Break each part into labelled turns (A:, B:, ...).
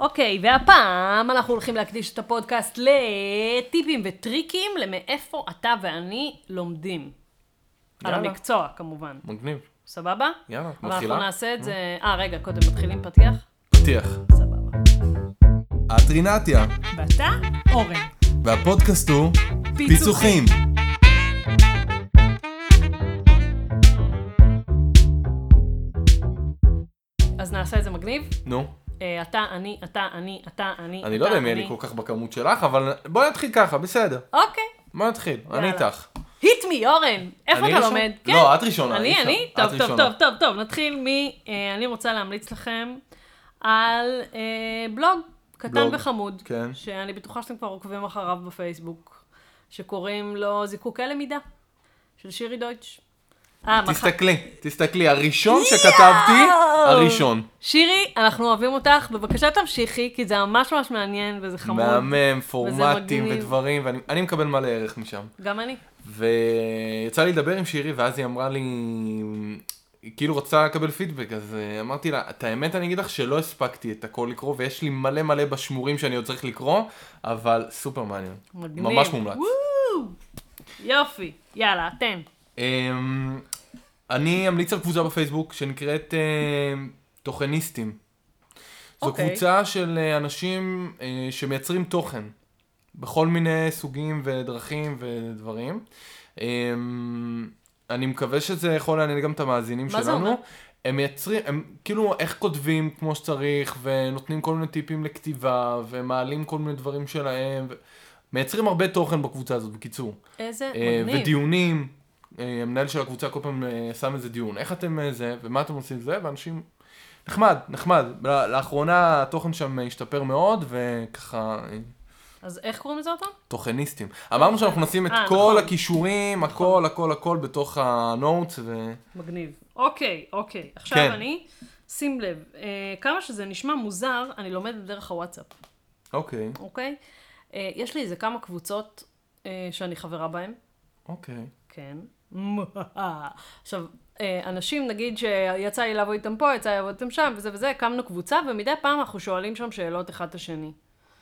A: אוקיי, והפעם אנחנו הולכים להקדיש את הפודקאסט לטיפים וטריקים למאיפה אתה ואני לומדים. על
B: יאללה.
A: המקצוע, כמובן.
B: מגניב.
A: סבבה?
B: יאללה,
A: אבל אנחנו
B: מתחילה?
A: נעשה את זה... אה, רגע, קודם מתחילים פתיח?
B: פתיח.
A: סבבה.
B: את רינתיה,
A: ואתה? אורן.
B: והפודקאסט הוא
A: פיצוחים. אז נעשה את זה מגניב?
B: נו,
A: אה, אתה, אני, אתה, אני, אתה, אני,
B: אני
A: אתה,
B: לא יודע אם יהיה לי כל כך בכמות שלך, אבל בואי נתחיל ככה, בסדר.
A: אוקיי.
B: בואי נתחיל, אני
A: יאללה.
B: איתך.
A: היט מי, אורן. איפה
B: אני
A: אתה
B: ראשון?
A: לומד? כן.
B: לא, את ראשונה, אי
A: אני,
B: אפשר.
A: אני?
B: את
A: טוב, טוב,
B: ראשונה.
A: טוב, טוב, טוב. נתחיל מ... אה, אני רוצה להמליץ לכם על אה, בלוג קטן
B: בלוג,
A: וחמוד,
B: כן.
A: שאני בטוחה שאתם כבר עוקבים אחריו בפייסבוק, שקוראים לו זיקוקי למידה, של שירי דויטש. אה, מח-
B: תסתכלי, תסתכלי, הראשון שכתבתי, הראשון.
A: שירי, אנחנו אוהבים אותך, בבקשה תמשיכי, כי זה ממש ממש מעניין וזה חמוד.
B: מהמם, פורמטים
A: מגניב.
B: ודברים, ואני אני מקבל מלא ערך משם.
A: גם אני.
B: ויצא לי לדבר עם שירי, ואז היא אמרה לי, היא כאילו רוצה לקבל פידבק, אז אה, אמרתי לה, את האמת אני אגיד לך שלא הספקתי את הכל לקרוא, ויש לי מלא מלא בשמורים שאני עוד צריך לקרוא, אבל סופר מעניין.
A: מגניב.
B: ממש מומלץ.
A: וואו! יופי, יאללה, תן.
B: אמ, אני אמליץ על קבוצה בפייסבוק שנקראת אמ, תוכניסטים. זו
A: אוקיי.
B: קבוצה של אה, אנשים אה, שמייצרים תוכן בכל מיני סוגים ודרכים ודברים. אמ, אני מקווה שזה יכול לעניין גם את המאזינים
A: מה זה
B: שלנו.
A: אומר?
B: הם מייצרים, הם כאילו איך כותבים כמו שצריך, ונותנים כל מיני טיפים לכתיבה, ומעלים כל מיני דברים שלהם. ו... מייצרים הרבה תוכן בקבוצה הזאת, בקיצור.
A: איזה
B: אה,
A: מגניב.
B: ודיונים, אה, המנהל של הקבוצה כל פעם אה, שם איזה דיון, איך אתם אה, זה, ומה אתם עושים זה, ואנשים, נחמד, נחמד. ל- לאחרונה התוכן שם אה, השתפר מאוד, וככה, אה,
A: אז איך קוראים לזה עוד פעם?
B: תוכניסטים. אמרנו שאנחנו נשים את
A: אה,
B: כל
A: נכון.
B: הכישורים, הכל, הכל, הכל בתוך הנוטס, ו...
A: מגניב. אוקיי, אוקיי. עכשיו
B: כן.
A: אני, שים לב, אה, כמה שזה נשמע מוזר, אני לומדת דרך הוואטסאפ,
B: אוקיי,
A: אוקיי? אה, יש לי איזה כמה קבוצות אה, שאני חברה בהן,
B: אוקיי.
A: כן. עכשיו, אה, אנשים, נגיד שיצא לי לעבוד איתם פה, יצא לי לעבוד איתם שם, וזה וזה, הקמנו קבוצה, ומדי פעם אנחנו שואלים שם שאלות אחד את השני.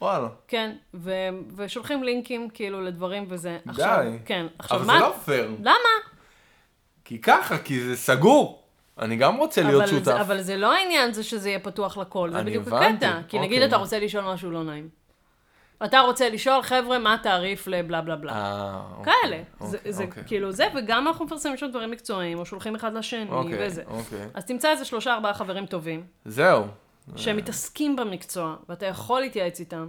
B: וואלה.
A: כן, ו- ושולחים לינקים כאילו לדברים וזה.
B: די.
A: עכשיו, כן. עכשיו,
B: אבל זה
A: מה...
B: לא פייר.
A: למה?
B: כי ככה, כי זה סגור. אני גם רוצה להיות
A: אבל
B: שותף.
A: זה, אבל זה לא העניין זה שזה יהיה פתוח לכל, זה
B: אני
A: בדיוק
B: הבנתי,
A: הקטע. כי נגיד
B: אוקיי.
A: אתה רוצה לשאול משהו לא נעים. אתה רוצה לשאול, חבר'ה, מה התעריף לבלה בלה בלה.
B: אה, אוקיי,
A: כאלה. זה,
B: אוקיי,
A: זה
B: אוקיי.
A: כאילו זה, וגם אנחנו מפרסמים שם דברים מקצועיים, או שולחים אחד לשני,
B: אוקיי,
A: כאילו וזה.
B: אוקיי.
A: אז תמצא איזה שלושה ארבעה חברים טובים,
B: זהו.
A: שמתעסקים במקצוע, ואתה יכול להתייעץ איתם,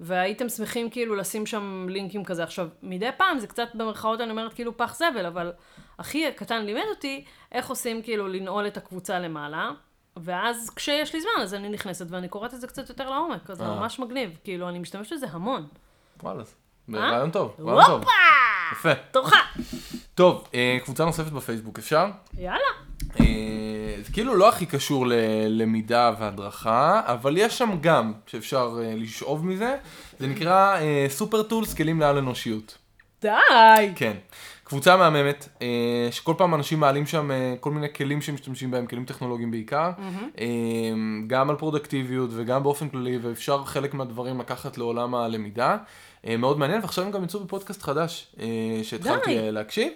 A: והייתם שמחים כאילו לשים שם לינקים כזה. עכשיו, מדי פעם זה קצת במרכאות, אני אומרת כאילו פח זבל, אבל אחי הקטן לימד אותי איך עושים כאילו לנעול את הקבוצה למעלה, ואז כשיש לי זמן אז אני נכנסת ואני קוראת את זה קצת יותר לעומק, אז זה
B: אה.
A: ממש מגניב, כאילו אני משתמשת בזה המון.
B: וואלה, זה רעיון טוב, רעיון טוב.
A: הופה!
B: יפה.
A: תורך!
B: טוב, אה, קבוצה נוספת בפייסבוק אפשר?
A: יאללה.
B: אה, זה כאילו לא הכי קשור ללמידה והדרכה, אבל יש שם גם שאפשר אה, לשאוב מזה, זה נקרא אה, סופר טולס, כלים לעל אנושיות.
A: די!
B: כן. קבוצה מהממת, אה, שכל פעם אנשים מעלים שם אה, כל מיני כלים שמשתמשים בהם, כלים טכנולוגיים בעיקר, אה, גם על פרודקטיביות וגם באופן כללי, ואפשר חלק מהדברים לקחת לעולם הלמידה. אה, מאוד מעניין, ועכשיו הם גם יצאו בפודקאסט חדש, אה,
A: די.
B: שהתחלתי אה, להקשיב,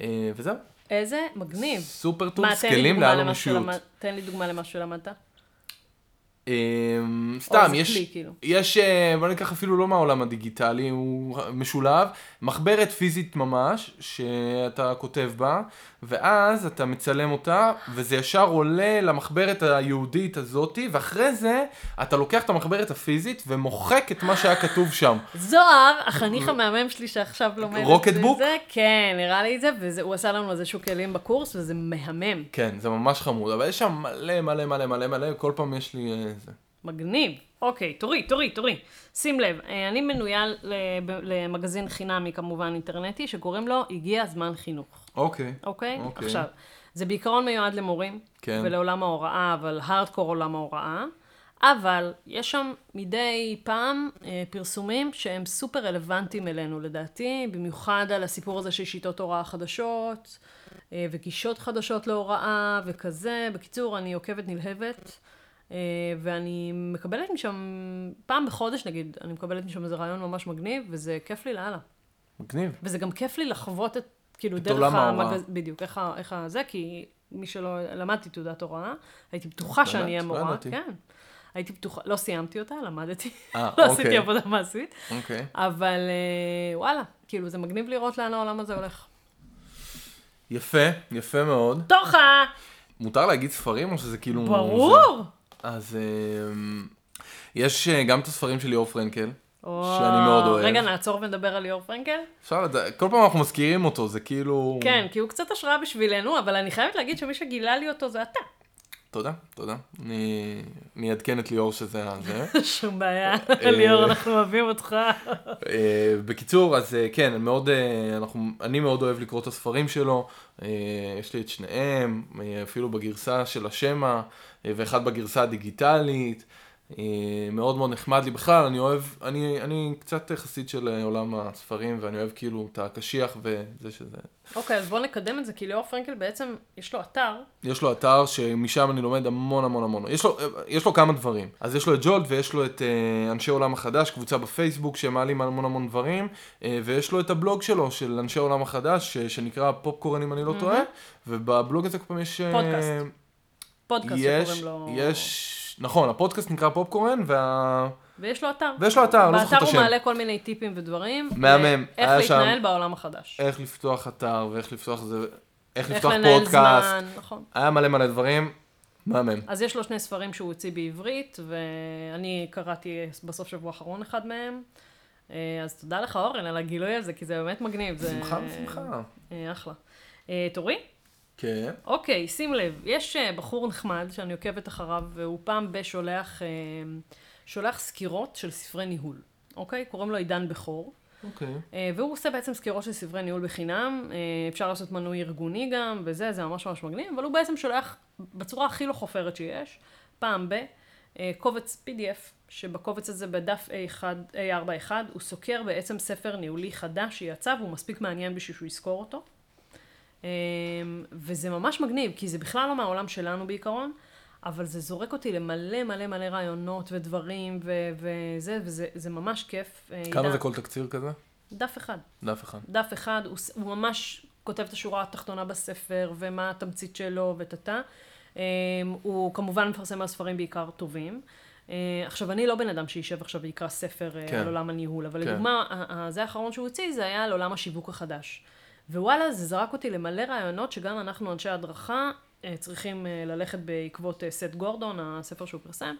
B: אה, וזהו.
A: איזה מגניב.
B: סופר
A: מה,
B: טורס,
A: תן לי
B: כלים
A: דוגמה
B: לעל
A: למה
B: אנושיות.
A: שלמדת. תן לי דוגמה למה שלמדת.
B: אמ,
A: או
B: סתם,
A: זה כלי,
B: יש,
A: כאילו.
B: יש, אה, בוא ניקח אפילו לא מהעולם הדיגיטלי, הוא משולב, מחברת פיזית ממש, שאתה כותב בה, ואז אתה מצלם אותה, וזה ישר עולה למחברת היהודית הזאתי, ואחרי זה אתה לוקח את המחברת הפיזית ומוחק את מה שהיה כתוב שם.
A: זוהר, החניך המהמם שלי שעכשיו לומד את
B: רוקט
A: זה-
B: אה, בוק?
A: זה, כן, נראה לי את זה, והוא עשה לנו איזשהו כלים בקורס, וזה מהמם,
B: כן, זה ממש חמוד, אבל יש שם מלא מלא מלא מלא מלא, כל פעם יש לי אה, זה.
A: מגניב. אוקיי, תורי, תורי, תורי. שים לב, אה, אני מנויה לב- למגזין חינמי, כמובן, אינטרנטי, שקוראים לו "הגיע זמן חינוך",
B: אוקיי.
A: אוקיי?
B: אוקיי.
A: עכשיו, זה בעיקרון מיועד למורים,
B: כן.
A: ולעולם ההוראה, אבל הארדקור עולם ההוראה, אבל יש שם מדי פעם אה, פרסומים שהם סופר רלוונטיים אלינו לדעתי, במיוחד על הסיפור הזה של שיטות הוראה חדשות, אה, וגישות חדשות להוראה וכזה. בקיצור, אני עוקבת נלהבת. אה, אה, ואני מקבלת משם, פעם בחודש נגיד, אני מקבלת משם איזה רעיון ממש מגניב, וזה כיף לי לאללה.
B: מגניב.
A: וזה גם כיף לי לחוות את, כאילו,
B: את
A: דרך
B: עולם ההוראה.
A: המגז... בדיוק, איך, ה- איך ה- זה, כי מי שלא, למדתי תעודת הוראה, הייתי בטוחה שאני אהיה
B: לא
A: מורה,
B: ידעתי.
A: כן. הייתי בטוחה, לא סיימתי אותה, למדתי,
B: אה,
A: לא
B: אוקיי.
A: עשיתי עבודה מעשית,
B: אוקיי.
A: אבל אה, וואלה, כאילו, זה מגניב לראות לאן העולם הזה הולך.
B: יפה, יפה מאוד.
A: תוכה!
B: מותר להגיד ספרים או שזה כאילו...
A: ברור!
B: זה- אז אמ, יש אה, גם את הספרים של ליאור פרנקל.
A: או,
B: שאני מאוד אוהב.
A: רגע, נעצור ונדבר על ליאור פרנקל?
B: אפשר לדעת, כל פעם אנחנו מזכירים אותו, זה כאילו...
A: כן, כי הוא קצת השראה בשבילנו, אבל אני חייבת להגיד שמי שגילה לי אותו זה אתה.
B: תודה, תודה. אני אני אעדכן את ליאור שזה ה- זה.
A: שום בעיה, ליאור, אנחנו אוהבים אותך.
B: אה, בקיצור, אז אה, כן, אני מאוד, אה, אנחנו, אני מאוד אוהב לקרוא את הספרים שלו, אה, יש לי את שניהם, אה, אפילו בגרסה של השמע, אה, ואחד בגרסה הדיגיטלית, אה, מאוד מאוד נחמד לי בכלל, אני אוהב, אני, אני קצת חסיד של אה, עולם הספרים, ואני אוהב כאילו את הקשיח וזה שזה.
A: אוקיי, אז בואו נקדם את זה, כי ליאור פרנקל בעצם, יש לו אתר.
B: יש לו אתר שמשם אני לומד המון המון המון, יש לו, אה, יש לו כמה דברים. אז יש לו את ג'ולט ויש לו את אה, אנשי עולם החדש, קבוצה בפייסבוק שמעלים המון המון דברים, אה, ויש לו את הבלוג שלו של אנשי עולם החדש, ש- שנקרא פופקורן אם אני לא טועה, ובבלוג הזה כל פעם יש... אה,
A: Mm-hmm. פודקאסט. פודקאסט
B: יש,
A: שקוראים לו...
B: יש, נכון, הפודקאסט נקרא פופקורן, וה...
A: ויש לו אתר.
B: ויש לו אתר, לא זוכר את
A: באתר הוא
B: השם.
A: מעלה כל מיני טיפים ודברים. אה,
B: מהמם,
A: איך
B: היה
A: להתנהל
B: שם-
A: בעולם החדש.
B: איך לפתוח אתר, ואיך לפתוח זה, איך
A: איך
B: לפתוח
A: לנהל
B: פודקאסט,
A: זמן, נכון.
B: היה מלא מלא דברים, מהמם.
A: אז יש לו שני ספרים שהוא הוציא בעברית, ואני קראתי בסוף שבוע האחרון אחד מהם. אה, אז תודה לך, אורן, על הגילוי הזה, כי זה באמת מגניב. זה-
B: בשמחה, בשמחה.
A: אה, אחלה. אה, תורי?
B: כן.
A: אוקיי, שים לב, יש אה, בחור נחמד שאני עוקבת אחריו, והוא פעם בשולח אה, שולח סקירות של ספרי ניהול, אוקיי? קוראים לו עידן בכור.
B: אוקיי.
A: אה, והוא עושה בעצם סקירות של ספרי ניהול בחינם, אה, אפשר לעשות מנוי ארגוני גם, וזה, זה ממש ממש מגניב, אבל הוא בעצם שולח בצורה הכי לא חופרת שיש, פעם ב, אה, קובץ PDF, שבקובץ הזה בדף A1, A41, הוא סוקר בעצם ספר ניהולי חדש שיצא, והוא מספיק מעניין בשביל שהוא יזכור אותו. אה, וזה ממש מגניב, כי זה בכלל לא מהעולם שלנו בעיקרון. אבל זה זורק אותי למלא מלא מלא רעיונות ודברים ו- וזה, וזה זה ממש כיף. אה,
B: כמה
A: עידן-
B: זה כל תקציר כזה?
A: דף אחד.
B: דף אחד.
A: דף אחד, הוא, ס- הוא ממש כותב את השורה התחתונה בספר, ומה התמצית שלו וטאטא. אמ, הוא כמובן מפרסם על ספרים בעיקר טובים. אה, עכשיו, אני לא בן אדם שישב עכשיו ויקרא ספר אה,
B: כן.
A: על עולם הניהול, אבל
B: כן.
A: לדוגמה, ה- ה- זה האחרון שהוא הוציא, זה היה על עולם השיווק החדש. ווואלה, זה זרק אותי למלא רעיונות שגם אנחנו, אנשי הדרכה, אה, צריכים אה, ללכת בעקבות אה, סט גורדון, הספר שהוא פרסם.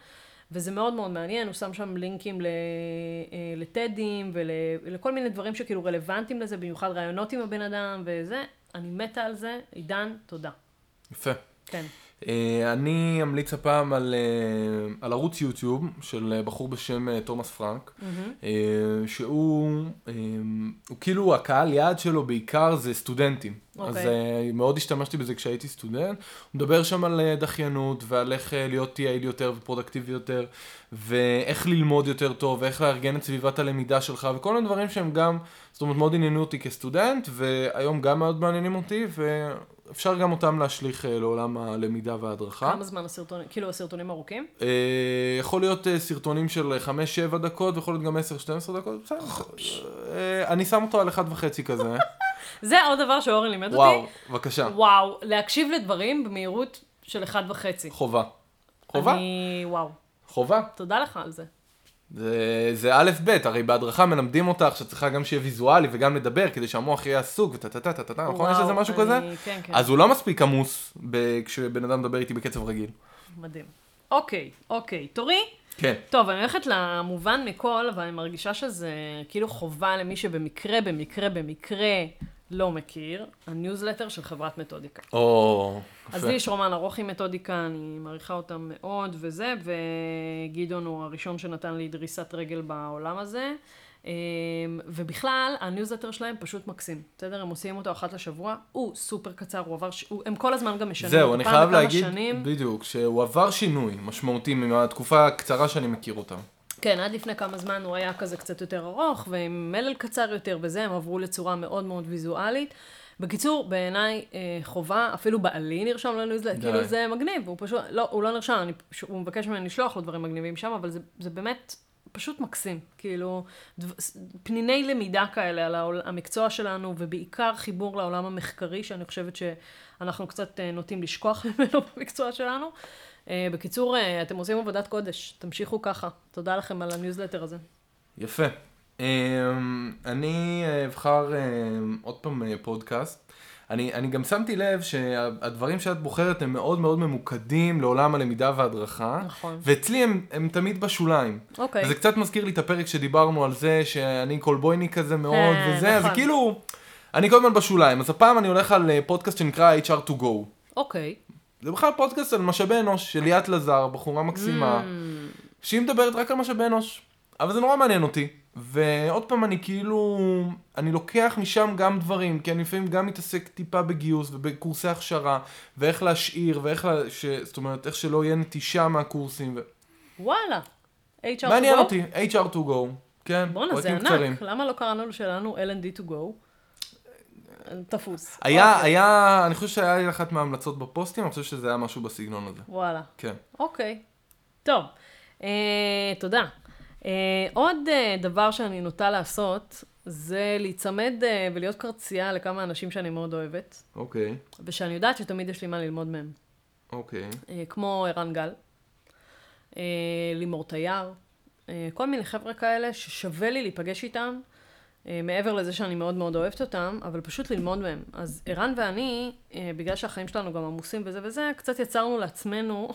A: וזה מאוד מאוד מעניין, הוא שם שם לינקים ל- אה, לטדים ולכל מיני דברים שכאילו רלוונטיים לזה, במיוחד רעיונות עם הבן אדם וזה. אני מתה על זה. עידן, תודה.
B: יפה.
A: כן.
B: אה, אני אמליץ הפעם על, אה, על ערוץ יוטיוב של אה, בחור בשם אה, תומאס פרנק, אה, שהוא אה, הוא כאילו הקהל יעד שלו בעיקר זה סטודנטים. אז
A: אוקיי.
B: אה, מאוד השתמשתי בזה כשהייתי סטודנט. הוא מדבר שם על אה, דחיינות ועל איך אה, להיות יעיל יותר ופרודקטיבי יותר, ואיך ללמוד יותר טוב, ואיך לארגן את סביבת הלמידה שלך, וכל מיני דברים שהם גם, זאת אומרת, מאוד עניינו אותי כסטודנט, והיום גם מאוד מעניינים אותי, ואפשר גם אותם להשליך אה, לעולם הלמידה וההדרכה.
A: כמה זמן הסרטונים, כאילו הסרטונים ארוכים?
B: אה, יכול להיות אה, סרטונים של אה, 5-7 דקות, ויכול להיות גם 10-12 דקות, בסדר. אה, אני שם אותו על 1.5 כזה.
A: זה עוד דבר שאורן לימד
B: וואו,
A: אותי.
B: בבקשה,
A: וואו, להקשיב לדברים במהירות של אחד וחצי.
B: חובה. חובה,
A: אני, וואו,
B: חובה.
A: תודה לך על זה.
B: זה, זה א' ב', הרי בהדרכה מלמדים אותך שצריכה גם שיהיה ויזואלי וגם לדבר כדי שהמוח יהיה עסוק וטה טה טה טה טה, נכון? יש
A: וואו,
B: איזה משהו
A: אני-
B: כזה?
A: כן, כן.
B: אז הוא לא מספיק עמוס ב- כשבן אדם מדבר איתי בקצב רגיל.
A: מדהים. אוקיי, אוקיי. תורי?
B: כן.
A: טוב, אני הולכת למובן מכל, אבל אני מרגישה שזה כאילו חובה למי שבמקרה, במקרה, במקרה לא מכיר, הניוזלטר של חברת מתודיקה.
B: או,
A: אז
B: יפה.
A: לי יש רומן ארוך עם מתודיקה, אני מעריכה אותם מאוד וזה, וגדעון הוא הראשון שנתן לי דריסת רגל בעולם הזה. אמ, ובכלל, הניוזלטר שלהם פשוט מקסים, בסדר? הם עושים אותו אחת לשבוע, הוא סופר קצר, הוא עבר, ש... הוא... הם כל הזמן גם משנים,
B: זהו,
A: אותו,
B: אני
A: פעם
B: חייב
A: בכמה
B: להגיד,
A: שנים.
B: בדיוק, שהוא עבר שינוי משמעותי מהתקופה הקצרה שאני מכיר אותם.
A: כן, עד לפני כמה זמן הוא היה כזה קצת יותר ארוך, ועם מלל קצר יותר וזה, הם עברו לצורה מאוד מאוד ויזואלית. בקיצור, בעיניי אה, חובה, אפילו בעלי נרשם לניוזלט,
B: די.
A: כאילו זה מגניב, הוא פשוט, לא, הוא לא נרשם, אני, פש- הוא מבקש ממני לשלוח לו דברים מגניבים שם, אבל זה, זה באמת פשוט מקסים, כאילו, דו, ס- פניני למידה כאלה על העול, המקצוע שלנו, ובעיקר חיבור לעולם המחקרי, שאני חושבת שאנחנו קצת אה, נוטים לשכוח ממנו במקצוע שלנו. אה, בקיצור, אה, אתם עושים עבודת קודש, תמשיכו ככה. תודה לכם על הניוזלטר הזה.
B: יפה. אמ, אני אה, אבחר אמ, עוד פעם אה, פודקאסט. אני, אני גם שמתי לב שהדברים שאת בוחרת הם מאוד מאוד ממוקדים לעולם הלמידה וההדרכה.
A: נכון.
B: ואצלי הם, הם תמיד בשוליים.
A: אוקיי.
B: זה קצת מזכיר לי את הפרק שדיברנו על זה שאני קולבויני כזה מאוד
A: אה,
B: וזה, אז
A: נכון.
B: כאילו, אני כל הזמן בשוליים. אז הפעם אני הולך על אה, פודקאסט שנקרא HR to go.
A: אוקיי.
B: זה בכלל פודקאסט על משאבי אנוש של ליאת לזר, בחורה מקסימה,
A: Mm.
B: שהיא מדברת רק על משאבי אנוש. אבל זה נורא מעניין אותי. ועוד פעם, אני כאילו, אני לוקח משם גם דברים, כי אני לפעמים גם מתעסק טיפה בגיוס ובקורסי הכשרה, ואיך להשאיר, ואיך, לה... ש... זאת אומרת, איך שלא יהיה נטישה מהקורסים. ו...
A: וואלה. HR
B: מעניין
A: to go?
B: אותי, HR to go. כן,
A: בואנה, זה
B: פרקים
A: ענק.
B: קצרים.
A: למה לא קראנו שלנו L&D to go? תפוס.
B: היה,
A: אוקיי.
B: היה, אני חושב שהיה לי אחת מההמלצות בפוסטים, אני חושב שזה היה משהו בסגנון הזה.
A: וואלה.
B: כן.
A: אוקיי. טוב. אה, תודה. אה, עוד אה, דבר שאני נוטה לעשות, זה להיצמד אה, ולהיות קרצייה לכמה אנשים שאני מאוד אוהבת,
B: אוקיי,
A: ושאני יודעת שתמיד יש לי מה ללמוד מהם.
B: אוקיי.
A: אה, כמו ערן גל, אה, לימור תייר, אה, כל מיני חבר'ה כאלה ששווה לי להיפגש איתם, אה, מעבר לזה שאני מאוד מאוד אוהבת אותם, אבל פשוט ללמוד מהם. אז ערן ואני, אה, בגלל שהחיים שלנו גם עמוסים וזה וזה, קצת יצרנו לעצמנו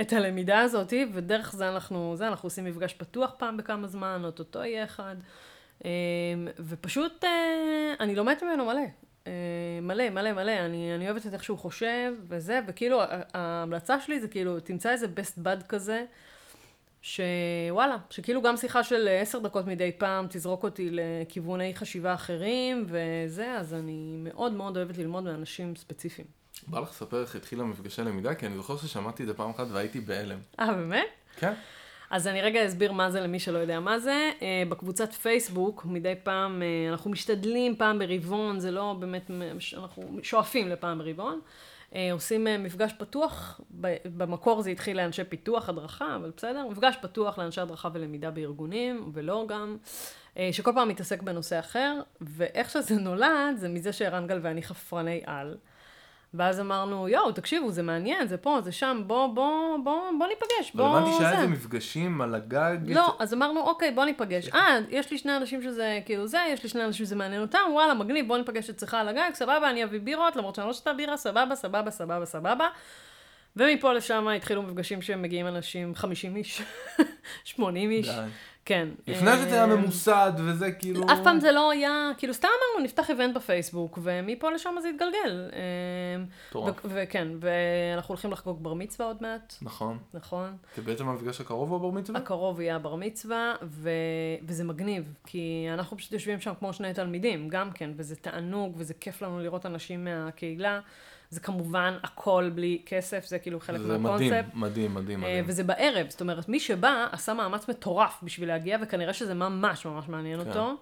A: את הלמידה הזאת, ודרך זה אנחנו, זה, אנחנו עושים מפגש פתוח פעם בכמה זמן, אוטוטו יהיה אחד. אמ, ופשוט אה, אני לומדת ממנו מלא. אה, מלא, מלא, מלא. אני, אני אוהבת את איך שהוא חושב וזה, וכאילו ה- ההמלצה שלי זה כאילו, תמצא איזה best bud כזה, שוואלה, שכאילו גם שיחה של עשר דקות מדי פעם תזרוק אותי לכיווני חשיבה אחרים וזה, אז אני מאוד מאוד אוהבת ללמוד מאנשים ספציפיים.
B: בא לך לספר איך התחיל המפגשי למידה? כי אני זוכר ששמעתי את זה פעם אחת והייתי בהלם.
A: אה, באמת?
B: כן?
A: אז אני רגע אסביר מה זה למי שלא יודע מה זה. אה, בקבוצת פייסבוק, מדי פעם, אה, אנחנו משתדלים פעם ברבעון, זה לא באמת, מ- ש- אנחנו שואפים לפעם ברבעון. אה, עושים אה, מפגש פתוח, ב- במקור זה התחיל לאנשי פיתוח, הדרכה, אבל בסדר, מפגש פתוח לאנשי הדרכה ולמידה בארגונים, ולא גם, אה, שכל פעם מתעסק בנושא אחר, ואיך שזה נולד, זה מזה שערן גל ואני חפרני על. ואז אמרנו, יואו, תקשיבו, זה מעניין, זה פה, זה שם, בוא, בוא, בוא, בוא ניפגש,
B: אבל
A: בוא...
B: הבנתי שהיה
A: לא, זה."
B: איזה מפגשים על הגג.
A: לא, אז אמרנו, אוקיי, בוא ניפגש. אה, יש לי שני אנשים שזה, כאילו זה, יש לי שני אנשים שזה מעניין אותם, וואלה, מגניב, בוא ניפגש אצלך על הגג, סבבה, אני אביא בירות, למרות שאני לא שותה בירה, סבבה, סבבה, סבבה, סבבה. ומפה לשם התחילו מפגשים שמגיעים אנשים 50 איש, 80 איש.
B: די.
A: כן.
B: לפני שזה היה
A: אה,
B: ממוסד וזה כאילו...
A: אף פעם זה לא היה, כאילו סתם אמרנו, נפתח איבנט בפייסבוק, ומפה לשם זה התגלגל. אה,
B: מטורף.
A: ו- וכן, ואנחנו הולכים לחגוג בר מצווה עוד מעט,
B: נכון.
A: נכון?
B: זה בעצם המפגש הקרוב או הבר מצווה?
A: הקרוב יהיה הבר מצווה, ו... וזה מגניב, כי אנחנו פשוט יושבים שם כמו שני תלמידים, גם כן, וזה תענוג, וזה כיף לנו לראות אנשים מהקהילה. זה כמובן הכל בלי כסף, זה כאילו חלק
B: זה
A: מהקונספט.
B: מדהים, מדהים, מדהים,
A: אה,
B: מדהים.
A: וזה בערב, זאת אומרת, מי שבא עשה מאמץ מטורף בשביל להגיע, וכנראה שזה ממש ממש מעניין
B: כן.
A: אותו.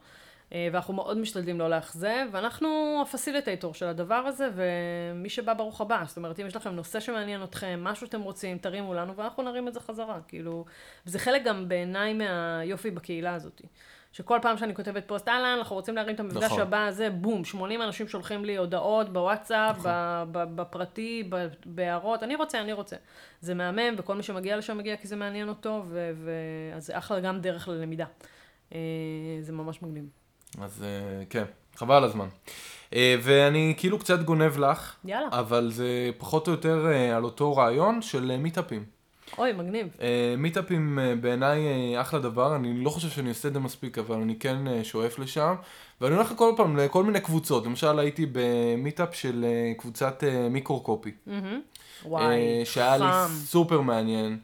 A: אה, ואנחנו מאוד משתדלים לא לאכזב, ואנחנו הפסיליטייטור של הדבר הזה, ומי שבא, ברוך הבא. זאת אומרת, אם יש לכם נושא שמעניין אתכם, משהו שאתם רוצים, תרימו לנו, ואנחנו נרים את זה חזרה. כאילו, וזה חלק גם בעיניי מהיופי בקהילה הזאת. שכל פעם שאני כותבת פוסט, אהלן, אנחנו רוצים להרים את המפגש
B: נכון.
A: הבא הזה, בום, 80 אנשים שולחים לי הודעות בוואטסאפ,
B: נכון.
A: ב- ב- בפרטי, ב- בהערות, אני רוצה, אני רוצה. זה מהמם, וכל מי שמגיע לשם מגיע כי זה מעניין אותו, ו- ו- אז זה אחלה גם דרך ללמידה. אה, זה ממש מגניב.
B: אז אה, כן, חבל על הזמן. אה, ואני כאילו קצת גונב לך,
A: יאללה.
B: אבל זה פחות או יותר אה, על אותו רעיון של אה, מיטאפים.
A: אוי, מגניב.
B: אה, מיטאפים אה, בעיניי אה, אחלה דבר, אני לא חושב שאני עושה את זה מספיק, אבל אני כן אה, שואף לשם. ואני הולך כל פעם לכל מיני קבוצות, למשל הייתי במיטאפ של אה, קבוצת אה, מיקרו קופי.
A: מהמם. וואי,
B: אה, שהיה לי
A: חם.
B: סופר מעניין.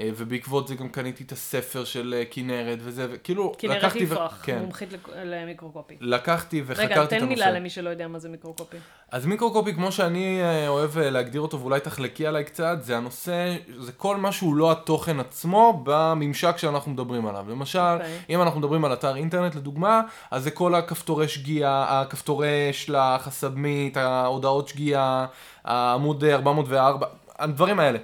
B: אה, ובעקבות זה גם קניתי את הספר של אה, כנרת וזה, וכאילו,
A: כנרת
B: לקחתי ו-
A: יפרח,
B: כן.
A: מומחית לק- למיקרוקופי.
B: לקחתי וחקרתי את
A: רגע,
B: הנושא.
A: תן מילה למי שלא יודע מה זה מיקרוקופי.
B: אז מיקרוקופי, כמו שאני אה, אוהב אה, להגדיר אותו, ואולי תחלקי עליי קצת, זה הנושא, זה כל מה שהוא לא התוכן עצמו בממשק שאנחנו מדברים עליו. למשל,
A: אוקיי.
B: אם אנחנו מדברים על אתר אינטרנט לדוגמה, אז זה כל הכפתורי שגיאה, הכפתורי שלח, הסאבמיט, ההודעות שגיאה, העמוד אה, 404, הדברים האלה.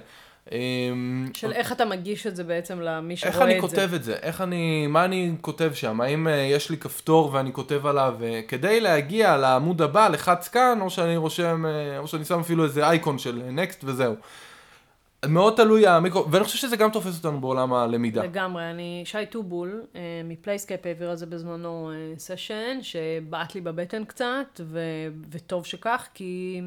B: אמ,
A: של איך אתה מגיש את זה בעצם למי שרואה את
B: איך
A: זה.
B: אני כותב את זה? איך אני, מה אני כותב שם? האם אה, יש לי כפתור ואני כותב עליו, אה, כדי להגיע לעמוד הבא, לחץ כאן, או שאני רושם, אה, או שאני שם אפילו איזה אייקון של נקסט וזהו. מאוד תלוי המיקרו, ואני חושב שזה גם תופס אותנו בעולם הלמידה.
A: לגמרי, אני, שי טובול אה, מפלייסקייפ העביר על זה בזמנו אה, סשן, שבעט לי בבטן קצת, ו, וטוב שכך, כי,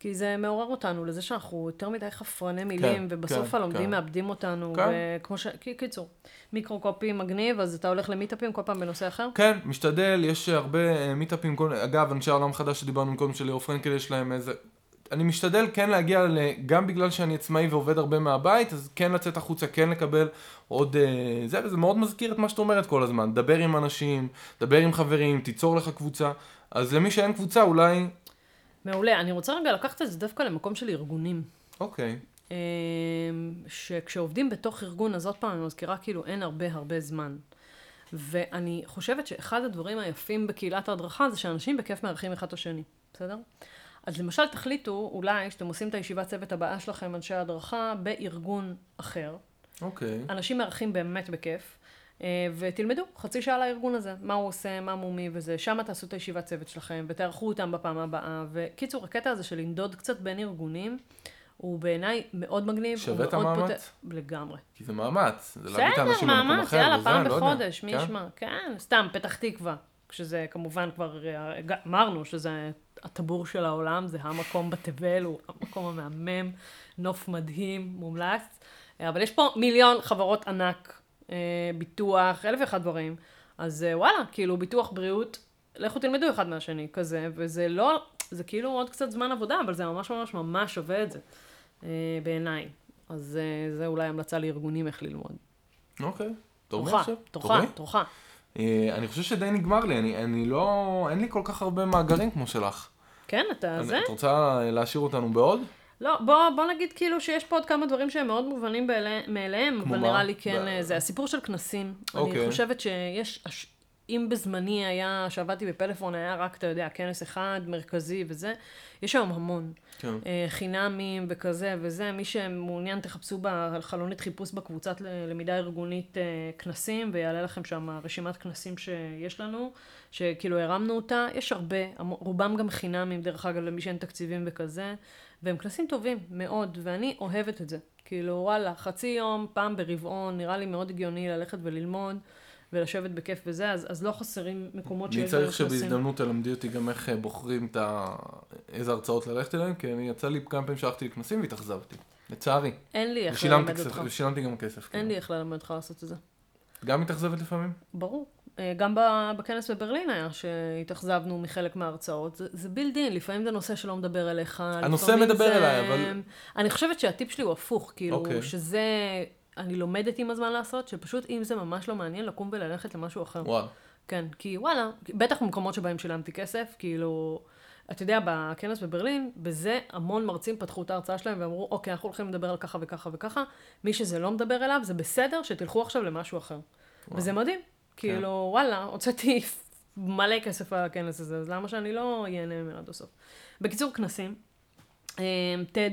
A: כי זה מעורר אותנו לזה שאנחנו יותר מדי חפרני מילים,
B: כן,
A: ובסוף
B: כן,
A: הלומדים
B: כן.
A: מאבדים אותנו,
B: כן.
A: וכמו ש... כי- קיצור, מיקרוקופי מגניב, אז אתה הולך למיטאפים כל פעם בנושא אחר?
B: כן, משתדל, יש הרבה אה, מיטאפים, כל- אגב, אנשי העולם החדש שדיברנו קודם של ליאור פרנקל, יש להם איזה... אני משתדל כן להגיע, ל... גם בגלל שאני עצמאי ועובד הרבה מהבית, אז כן לצאת החוצה, כן לקבל עוד... אה, זה, וזה מאוד מזכיר את מה שאת אומרת כל הזמן, דבר עם אנשים, דבר עם חברים, תיצור לך קבוצה. אז למי שאין קבוצה, אולי...
A: מעולה. אני רוצה רגע לקחת את זה דווקא למקום של ארגונים.
B: אוקיי.
A: אמ, שכשעובדים בתוך ארגון, אז עוד פעם אני מזכירה, כאילו אין הרבה הרבה זמן. ואני חושבת שאחד הדברים היפים בקהילת ההדרכה זה שאנשים בכיף מארחים אחד את השני, בסדר? אז למשל תחליטו אולי שאתם עושים את הישיבת צוות הבאה שלכם, אנשי ההדרכה, בארגון אחר.
B: אוקיי.
A: אנשים מארחים באמת בכיף, אה, ותלמדו חצי שעה על הארגון הזה, מה הוא עושה, מה מומי וזה, שם תעשו את הישיבת צוות שלכם, ותערכו אותם בפעם הבאה, וקיצור, הקטע הזה של לנדוד קצת בין ארגונים, הוא בעיניי מאוד מגניב. הוא
B: שווה את
A: מאוד
B: המאמץ?
A: פות- לגמרי.
B: כי זה מאמץ. זה להביא את
A: בסדר,
B: האנשים למקום
A: מאמץ,
B: אחר,
A: יאללה,
B: וזה,
A: פעם
B: אני לא יודע.
A: בחודש, מי
B: כן?
A: ישמע, כן, סתם, פתח תקווה, כשזה כמובן כבר, אה, הג- אמרנו שזה הטבור של העולם, זה המקום בתבל, הוא המקום המהמם, נוף מדהים, מומלץ, אה, אבל יש פה מיליון חברות ענק, אה, ביטוח, אלף ואחד דברים, אז אה, וואלה, כאילו, ביטוח בריאות, לכו תלמדו אחד מהשני, כזה, וזה לא, זה כאילו עוד קצת זמן עבודה, אבל זה ממש ממש ממש שווה את זה, אה, בעיניי. אז אה, זה אולי המלצה לארגונים איך ללמוד.
B: אוקיי. תורי
A: תורך,
B: עכשיו?
A: תורך,
B: תורי?
A: תורך.
B: אה, אני חושב שדי נגמר לי, אני, אני לא, אין לי כל כך הרבה מאגרים כמו שלך.
A: כן, אתה
B: אני-
A: זה?
B: את רוצה אה, להשאיר אותנו בעוד?
A: לא, בוא, בוא נגיד כאילו שיש פה עוד כמה דברים שהם מאוד מובנים באלה- מאליהם,
B: כמו
A: אבל
B: מה?
A: נראה לי כן,
B: ב-
A: אה, זה הסיפור של כנסים. אני
B: אוקיי.
A: חושבת שיש, הש- אם בזמני היה, שעבדתי בפלאפון, היה רק, אתה יודע, כנס אחד, מרכזי וזה, יש היום המון.
B: כן.
A: אה, חינמים וכזה וזה, מי שמעוניין תחפשו בחלונית חיפוש בקבוצת ל- למידה ארגונית אה, כנסים, ויעלה לכם שם רשימת כנסים שיש לנו, שכאילו הרמנו אותה, יש הרבה, המ- רובם גם חינמים דרך אגב למי שאין תקציבים וכזה, והם כנסים טובים מאוד, ואני אוהבת את זה. כאילו וואלה, חצי יום, פעם ברבעון, נראה לי מאוד הגיוני ללכת וללמוד. ולשבת בכיף וזה, אז, אז לא חסרים מקומות
B: אני
A: שיש בהם
B: צריך
A: כנסים.
B: שבהזדמנות תלמדי אותי גם איך אה, בוחרים את ה... איזה הרצאות ללכת אליהן, כי אני יצא לי כמה פעמים שהלכתי לכנסים והתאכזבתי. לצערי.
A: אין לי איך
B: ושילמתי
A: ללמד
B: כסף-
A: אותך.
B: ושילמתי גם כסף.
A: אין
B: כן.
A: לי איך ללמד אותך לעשות את זה.
B: גם מתאכזבת לפעמים?
A: ברור. אה, גם ב- בכנס בברלין היה שהתאכזבנו מחלק מההרצאות. זה- זה built in, לפעמים זה נושא שלא מדבר אליך.
B: הנושא
A: לפעמים
B: מדבר
A: זה-
B: אליי, אבל-
A: אני חושבת שהטיפ שלי הוא הפוך, כאילו,
B: אוקיי.
A: שזה... אני לומדת עם הזמן לעשות, שפשוט אם זה ממש לא מעניין, לקום וללכת למשהו אחר.
B: וואו.
A: כן, כי וואלה, בטח במקומות שבהם שילמתי כסף, כאילו, אתה יודע, בכנס בברלין, בזה המון מרצים פתחו את ההרצאה שלהם ואמרו, אוקיי, אנחנו הולכים לדבר על ככה וככה וככה, מי שזה לא מדבר אליו, זה בסדר שתלכו עכשיו למשהו אחר. וואו. וזה מדהים. כאילו, וואלה, הוצאתי מלא כסף על הכנס הזה, אז למה שאני לא ייהנה ממנו עד הסוף? בקיצור, כנסים. אה, טד,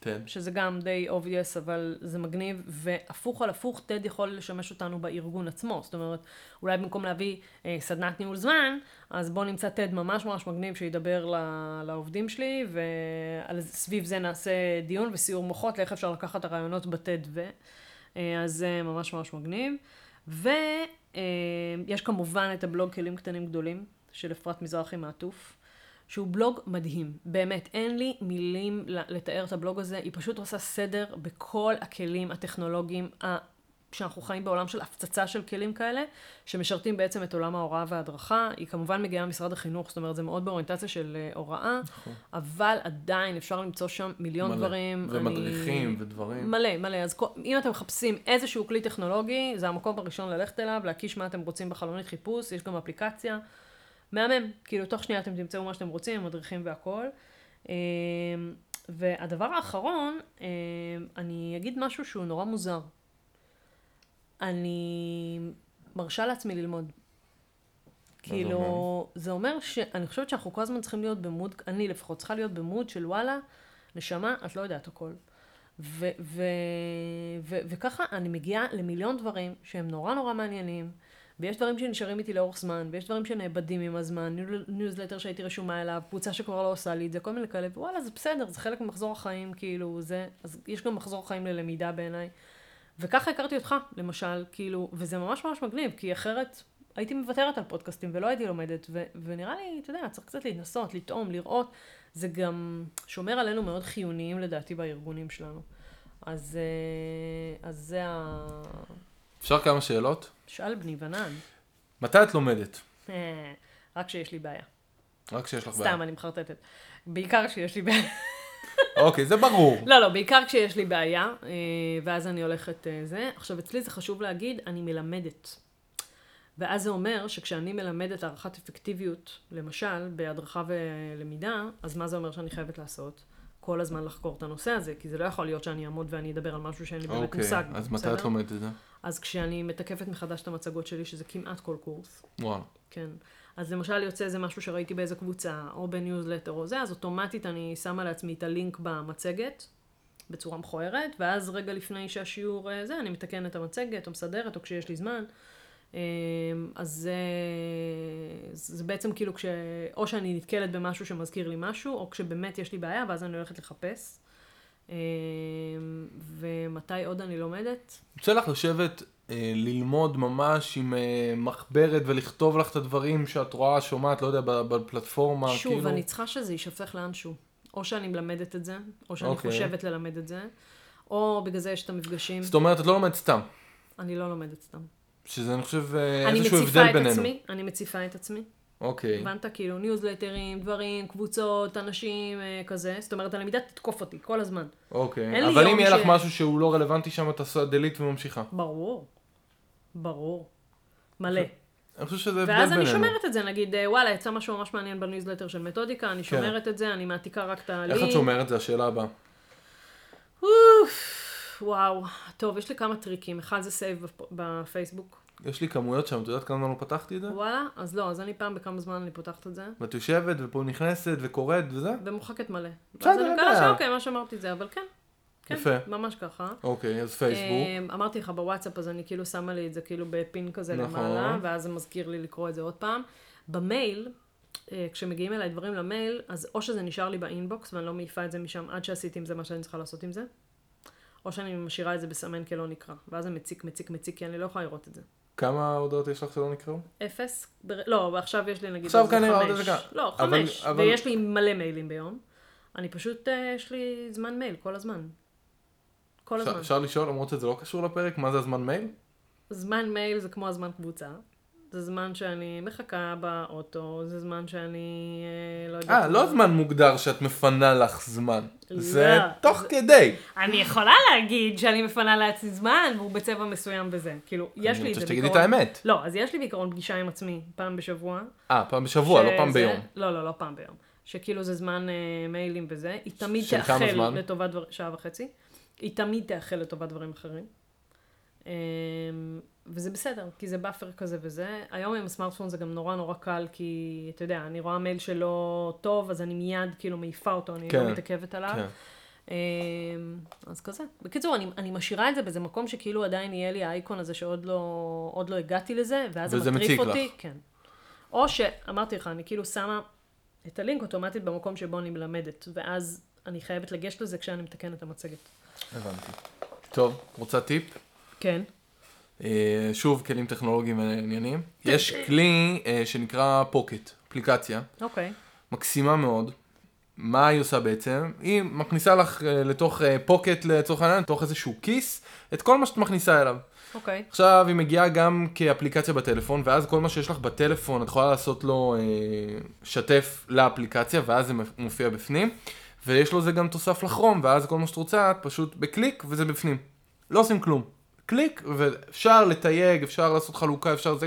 B: כן.
A: שזה גם די obvious, אבל זה מגניב, והפוך על הפוך, טד יכול לשמש אותנו בארגון עצמו. זאת אומרת, אולי במקום להביא אה, סדנת ניהול זמן, אז בואו נמצא טד ממש ממש מגניב שידבר ל- לעובדים שלי, וסביב זה נעשה דיון וסיור מוחות לאיך אפשר לקחת את הרעיונות בטד ו... אה, אז זה ממש ממש מגניב. ויש כמובן את הבלוג כלים קטנים גדולים, של אפרת מזרחי מעטוף. שהוא בלוג מדהים, באמת, אין לי מילים ל- לתאר את הבלוג הזה, היא פשוט עושה סדר בכל הכלים הטכנולוגיים שאנחנו חיים בעולם של הפצצה של כלים כאלה, שמשרתים בעצם את עולם ההוראה וההדרכה. היא כמובן מגיעה ממשרד החינוך, זאת אומרת, זה מאוד באוריינטציה של אה, הוראה, אבל עדיין אפשר למצוא שם מיליון
B: נכון. מלא.
A: דברים.
B: ומדריכים
A: אני-
B: ודברים.
A: מלא, מלא. אז כל- אם אתם מחפשים איזשהו כלי טכנולוגי, זה המקום הראשון ללכת אליו, להקיש מה אתם רוצים בחלונית חיפוש, יש גם אפליקציה. מהמם, כאילו תוך שנייה אתם תמצאו מה שאתם רוצים, מדריכים והכול. אמ, והדבר האחרון, אמ, אני אגיד משהו שהוא נורא מוזר. אני מרשה לעצמי ללמוד.
B: זה אומר?
A: כאילו, זה אומר שאני חושבת שאנחנו כל הזמן צריכים להיות במוד, אני לפחות צריכה להיות במוד של וואלה, נשמה, את לא יודעת הכל. ו- ו- ו- וככה אני מגיעה למיליון דברים שהם נורא נורא מעניינים, ויש דברים שנשארים איתי לאורך זמן, ויש דברים שנאבדים עם הזמן, ניו- ניוזלטר שהייתי רשומה אליו, קבוצה שכבר לא עושה לי את זה, כל מיני כאלה, וואלה, זה בסדר, זה חלק ממחזור החיים, כאילו, זה, אז יש גם מחזור חיים ללמידה בעיניי. וככה הכרתי אותך, למשל, כאילו, וזה ממש ממש מגניב, כי אחרת הייתי מוותרת על פודקאסטים ולא הייתי לומדת, ו- ונראה לי, אתה יודע, צריך קצת להתנסות, לטעום, לראות, זה גם שומר עלינו מאוד חיוניים לדעתי בארגונים שלנו. אז, אה, אז זה ה...
B: אפשר כמה שאלות?
A: שאל בני ונן.
B: מתי את לומדת?
A: אה, רק שיש לי בעיה.
B: רק כשיש לך בעיה.
A: סתם, אני מחרטטת. בעיקר כשיש לי בעיה.
B: אוקיי, זה ברור.
A: לא, לא, בעיקר כשיש לי בעיה, אה, ואז אני הולכת אה, זה. עכשיו, אצלי זה חשוב להגיד, אני מלמדת. ואז זה אומר שכשאני מלמדת הערכת אפקטיביות, למשל, בהדרכה ולמידה, אז מה זה אומר שאני חייבת לעשות? כל הזמן לחקור את הנושא הזה, כי זה לא יכול להיות שאני אעמוד ואני אדבר על משהו שאין לי באמת
B: אוקיי,
A: מושג.
B: אז
A: בו,
B: מתי את
A: בסדר?
B: לומדת את זה?
A: אז כשאני מתקפת מחדש את המצגות שלי, שזה כמעט כל קורס,
B: וואלה.
A: כן. אז למשל יוצא איזה משהו שראיתי באיזה קבוצה, או בניוזלטר או זה, אז אוטומטית אני שמה לעצמי את הלינק במצגת, בצורה מכוערת, ואז רגע לפני שהשיעור אה, זה, אני מתקנת את המצגת, או מסדרת, או כשיש לי זמן. אה, אז זה, זה בעצם כאילו כש... או שאני נתקלת במשהו שמזכיר לי משהו, או כשבאמת יש לי בעיה, ואז אני הולכת לחפש. אה, ומתי עוד אני לומדת?
B: יוצא לך לשבת, אה, ללמוד ממש עם אה, מחברת ולכתוב לך את הדברים שאת רואה, שומעת, לא יודע, ב- בפלטפורמה,
A: שוב,
B: כאילו.
A: אני צריכה שזה יישפך לאנשהו. או שאני מלמדת את זה, או שאני
B: אוקיי.
A: חושבת ללמד את זה, או בגלל זה יש את המפגשים.
B: זאת אומרת, את לא לומדת סתם.
A: אני לא לומדת סתם.
B: שזה, אני חושב, אה,
A: אני
B: איזשהו
A: מציפה
B: הבדל
A: את
B: בינינו.
A: עצמי, אני מציפה את עצמי.
B: אוקיי.
A: הבנת? כאילו ניוזלטרים, דברים, קבוצות, אנשים, אה, כזה. זאת אומרת, הלמידה תתקוף אותי כל הזמן. אין
B: אוקיי.
A: לי
B: אבל אם
A: יום
B: יהיה לך
A: ש-
B: משהו שהוא לא רלוונטי שם, את עושה delete וממשיכה.
A: ברור. ברור. מלא.
B: אני חושב שזה הבדל בינינו.
A: ואז אני שומרת את זה, נגיד, אה, וואלה, יצא משהו ממש מעניין בניוזלטר של מתודיקה, אני שומרת את זה, אני מעתיקה רק את הלינק.
B: כן. איך את שומרת? זה השאלה הבאה.
A: אוף, וואו. טוב, יש לי כמה טריקים. אחד זה סייב בפ- בפייסבוק.
B: יש לי כמויות שם, את יודעת כמה זמן לא פתחתי את זה?
A: וואלה, אז לא, אז אני פעם בכמה זמן אני פותחת את זה,
B: ואת יושבת ופה נכנסת וקוראת וזה?
A: ומוחקת מלא.
B: בסדר,
A: אז אני
B: אין
A: מקווה
B: בעיה.
A: שאוקיי, מה שאמרתי זה, אבל כן. כן,
B: יפה.
A: ממש ככה.
B: אוקיי, אז פייסבוק.
A: אמ, אמרתי לך בוואטסאפ, אז אני כאילו שמה לי את זה כאילו בפין כזה
B: נכון.
A: למעלה, ואז זה מזכיר לי לקרוא את זה עוד פעם. במייל, אה, כשמגיעים אליי דברים למייל, אז או שזה נשאר לי באינבוקס ואני לא מעיפה את זה משם עד שעשיתי עם זה מה שאני צריכה לעשות עם זה, או שאני משאירה את זה בסמן כלא נקרא, ואז זה מציק, מציק, מציק, כי אני לא יכולה לראות את זה.
B: כמה הודעות יש לך שלא נקראו?
A: אפס, בר... לא, ועכשיו יש לי נגיד
B: עכשיו
A: איזה
B: כנראה עוד
A: חמש.
B: איזה כמה.
A: לא,
B: אבל-
A: חמש,
B: אבל-
A: ויש לי מלא מיילים ביום. אני פשוט, אה, יש לי זמן מייל כל הזמן. כל
B: אפשר-
A: הזמן.
B: אפשר לשאול, למרות שזה לא קשור לפרק, מה זה הזמן מייל?
A: זמן מייל זה כמו הזמן קבוצה. זה זמן שאני מחכה באוטו, זה זמן שאני אה, לא יודעת...
B: אה, לא
A: מה.
B: זמן מוגדר שאת מפנה לך זמן.
A: לא.
B: זה תוך כדי.
A: אני יכולה להגיד שאני מפנה לעצמי זמן, והוא בצבע מסוים וזה. כאילו, יש
B: אני
A: לי את זה
B: רוצה שתגידי את האמת.
A: לא, אז יש לי בעיקרון פגישה עם עצמי פעם בשבוע.
B: אה, פעם בשבוע, לא
A: שזה-
B: פעם ביום.
A: לא, לא, לא פעם ביום. שכאילו זה זמן אה, מיילים וזה. היא תמיד
B: של כמה
A: תאחל
B: זמן?
A: לטובת דברים, שעה וחצי. היא תמיד תאחל לטובת דברים אחרים. אה, וזה בסדר, כי זה באפר כזה וזה. היום עם הסמארטפון זה גם נורא נורא קל, כי אתה יודע, אני רואה מייל שלא טוב, אז אני מיד כאילו מעיפה אותו, אני
B: כן.
A: לא מתעכבת עליו.
B: כן.
A: אמ, אז כזה. בקיצור, אני, אני משאירה את זה באיזה מקום שכאילו עדיין יהיה לי האייקון הזה שעוד לא, עוד לא הגעתי לזה, ואז
B: וזה
A: זה מטריף
B: מציק
A: אותי.
B: לך.
A: כן. או שאמרתי לך, אני כאילו שמה את הלינק אוטומטית במקום שבו אני מלמדת, ואז אני חייבת לגשת לזה כשאני מתקנת את המצגת.
B: הבנתי. טוב, רוצה טיפ?
A: כן.
B: אה, שוב, כלים טכנולוגיים ועניינים. יש כלי אה, שנקרא פוקט, אפליקציה.
A: אוקיי.
B: מקסימה מאוד. מה היא עושה בעצם? היא מכניסה לך אה, לתוך אה, פוקט לצורך העניין, לתוך איזשהו כיס, את כל מה שאת מכניסה אליו.
A: אוקיי.
B: עכשיו היא מגיעה גם כאפליקציה בטלפון, ואז כל מה שיש לך בטלפון, את יכולה לעשות לו אה, שתף לאפליקציה, ואז זה מופיע בפנים, ויש לו זה גם תוסף לכרום, ואז כל מה שאת רוצה, את פשוט בקליק, וזה בפנים. לא עושים כלום. קליק, ואפשר לתייג, אפשר לעשות חלוקה, אפשר זה,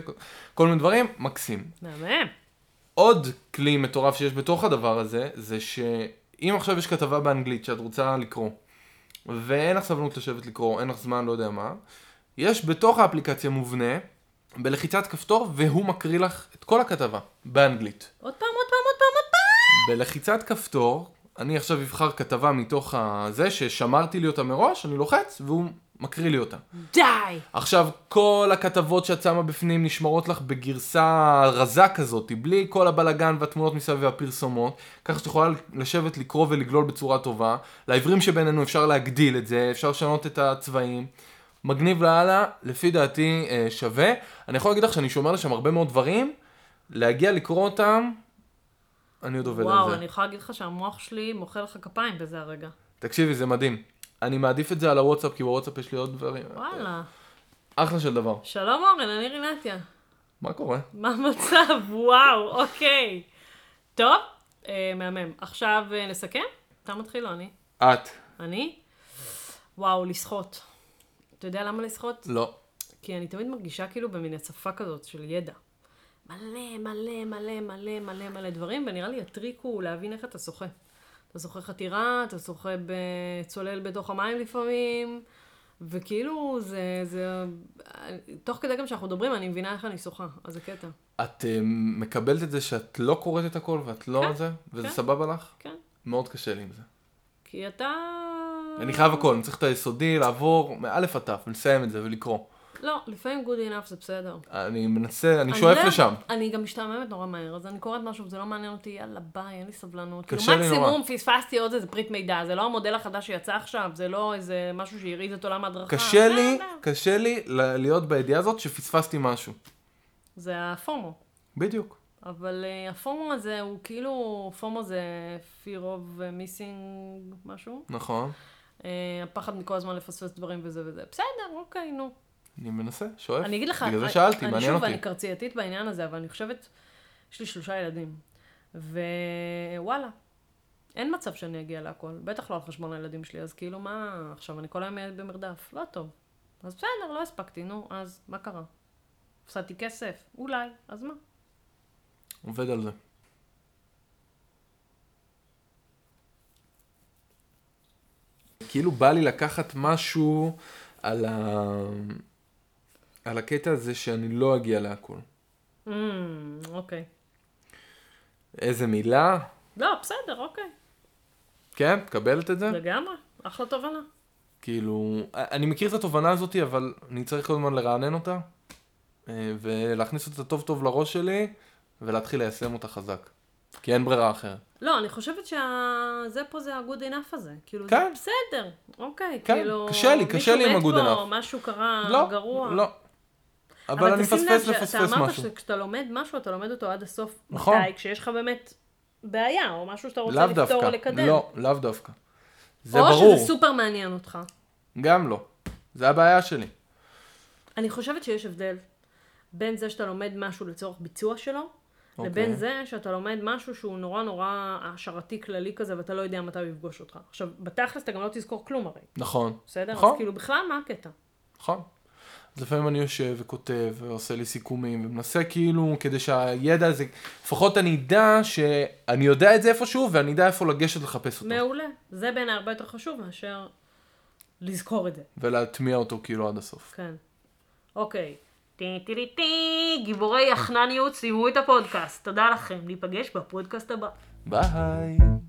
B: כל מיני דברים, מקסים.
A: מהמם.
B: עוד כלי מטורף שיש בתוך הדבר הזה, זה שאם עכשיו יש כתבה באנגלית שאת רוצה לקרוא, ואין לך סבלנות לשבת לקרוא, אין לך זמן, לא יודע מה, יש בתוך האפליקציה מובנה, בלחיצת כפתור, והוא מקריא לך את כל הכתבה, באנגלית.
A: עוד פעם, עוד פעם, עוד פעם, עוד פעם.
B: בלחיצת כפתור, אני עכשיו אבחר כתבה מתוך הזה ששמרתי לי אותה מראש, אני לוחץ, והוא מקריא לי אותה.
A: די!
B: עכשיו, כל הכתבות שאת שמה בפנים נשמרות לך בגרסה רזה כזאת, בלי כל הבלגן והתמונות מסביב והפרסומות, כך שאת יכולה לשבת, לקרוא ולגלול בצורה טובה. לעברים שבינינו אפשר להגדיל את זה, אפשר לשנות את הצבעים. מגניב לאללה, לפי דעתי אה, שווה. אני יכול להגיד לך שאני שומר לשם הרבה מאוד דברים, להגיע לקרוא אותם, אני עוד עובד על
A: וואו,
B: זה. אה,
A: אני יכולה להגיד לך שהמוח שלי מוחא לך כפיים בזה הרגע.
B: תקשיבי, זה מדהים. אני מעדיף את זה על הוואטסאפ, כי בוואטסאפ יש לי עוד דברים.
A: וואלה.
B: אה. אחלה של דבר.
A: שלום אורן, אני רינתיה.
B: מה קורה?
A: מה המצב? וואו, אוקיי. טוב, אה, מהמם. עכשיו אה, נסכם? אתה מתחיל או אני?
B: את.
A: אני? וואו, לסחוט. אתה יודע למה לסחוט?
B: לא.
A: כי אני תמיד מרגישה כאילו במין הצפה כזאת של ידע. מלא, מלא, מלא, מלא, מלא, מלא דברים, ונראה לי הטריק הוא להבין איך אתה שוחה. אתה שוחה חתירה, אתה שוחה בצולל בתוך המים לפעמים, וכאילו זה, זה... תוך כדי גם שאנחנו מדברים, אני מבינה איך אני שוחה, אז זה קטע.
B: את אה, מקבלת את זה שאת לא קוראת את הכל ואת לא
A: כן,
B: זה, וזה
A: כן.
B: סבבה לך?
A: כן.
B: מאוד קשה לי עם זה.
A: כי אתה...
B: אני חייב הכל, אני צריך את היסודי, לעבור מאלף עד תף, ולסיים את זה ולקרוא.
A: לא, לפעמים good enough זה בסדר.
B: אני מנסה, אני שואף
A: לא-
B: לשם.
A: אני גם משתעממת נורא מהר, אז אני קוראת משהו וזה לא מעניין אותי, יאללה ביי, אין לי סבלנות.
B: קשה
A: כאילו,
B: לי
A: מקסימום פספסתי עוד איזה פריט מידע, זה לא המודל החדש שיצא עכשיו, זה לא איזה משהו שהרעיד את עולם ההדרכה.
B: קשה
A: לא,
B: לי,
A: לא.
B: קשה לי ל- להיות בידיעה הזאת שפספסתי משהו.
A: זה הפומו.
B: בדיוק.
A: אבל אה, הפומו הזה הוא כאילו, פומו זה fear of missing משהו.
B: נכון.
A: אה, הפחד מכל הזמן לפספס דברים וזה וזה. בסדר, אוקיי, נו.
B: אני מנסה, שואף.
A: אני אגיד לך,
B: בגלל זה
A: אני-
B: שאלתי,
A: אני
B: מעניין
A: שוב,
B: אותי.
A: אני קרצייתית בעניין הזה, אבל אני חושבת, יש לי שלושה ילדים, ווואלה, אין מצב שאני אגיע להכל, בטח לא על חשבון הילדים שלי, אז כאילו מה, עכשיו אני כל היום במרדף, לא טוב. אז בסדר, לא הספקתי, נו, אז מה קרה? הפסדתי כסף, אולי, אז מה?
B: עובד על זה. כאילו בא לי לקחת משהו על, ה... על הקטע הזה שאני לא אגיע להכל.
A: Mm, אוקיי.
B: איזה מילה?
A: לא, בסדר, אוקיי.
B: כן, מקבלת את זה?
A: לגמרי, אחלה תובנה.
B: כאילו, אני מכיר את התובנה הזאת, אבל אני צריך כל הזמן לרענן אותה, אה, ולהכניס אותה טוב טוב לראש שלי, ולהתחיל ליישם אותה חזק. כי אין ברירה אחרת.
A: לא, אני חושבת שזה פה זה ה-good enough הזה. כאילו,
B: כן.
A: זה בסדר, אוקיי,
B: כן,
A: כאילו...
B: קשה לי, קשה לי עם
A: מישהו מת
B: ה-good
A: פה, משהו קרה
B: לא,
A: אה, גרוע.
B: לא. אבל אני
A: תשים לב
B: מפספס
A: שאתה
B: לפספס
A: אמרת
B: משהו.
A: שכשאתה לומד משהו, אתה לומד אותו עד הסוף.
B: נכון.
A: מתי? כשיש לך באמת בעיה, או משהו שאתה רוצה
B: לאו
A: לפתור
B: דווקא,
A: או לקדם.
B: לא, לאו דווקא. זה
A: או
B: ברור,
A: שזה סופר מעניין אותך.
B: גם לא. זה הבעיה שלי.
A: אני חושבת שיש הבדל בין זה שאתה לומד משהו לצורך ביצוע שלו,
B: אוקיי.
A: לבין זה שאתה לומד משהו שהוא נורא נורא השערתי כללי כזה, ואתה לא יודע מתי הוא יפגוש אותך. עכשיו, בתכלס אתה גם לא תזכור כלום הרי,
B: נכון,
A: בסדר?
B: נכון.
A: אז כאילו, בכלל מה הקטע?
B: נכון. אז לפעמים אני יושב וכותב ועושה לי סיכומים ומנסה כאילו כדי שהידע הזה, לפחות אני אדע שאני יודע את זה איפשהו ואני אדע איפה לגשת לחפש אותו
A: מעולה. זה בעיניי הרבה יותר חשוב מאשר לזכור את זה.
B: ולהטמיע אותו כאילו עד הסוף.
A: כן. אוקיי. טי טי טי טי, גיבורי יחנניות סיימו את הפודקאסט. תודה לכם, ניפגש בפודקאסט הבא.
B: ביי.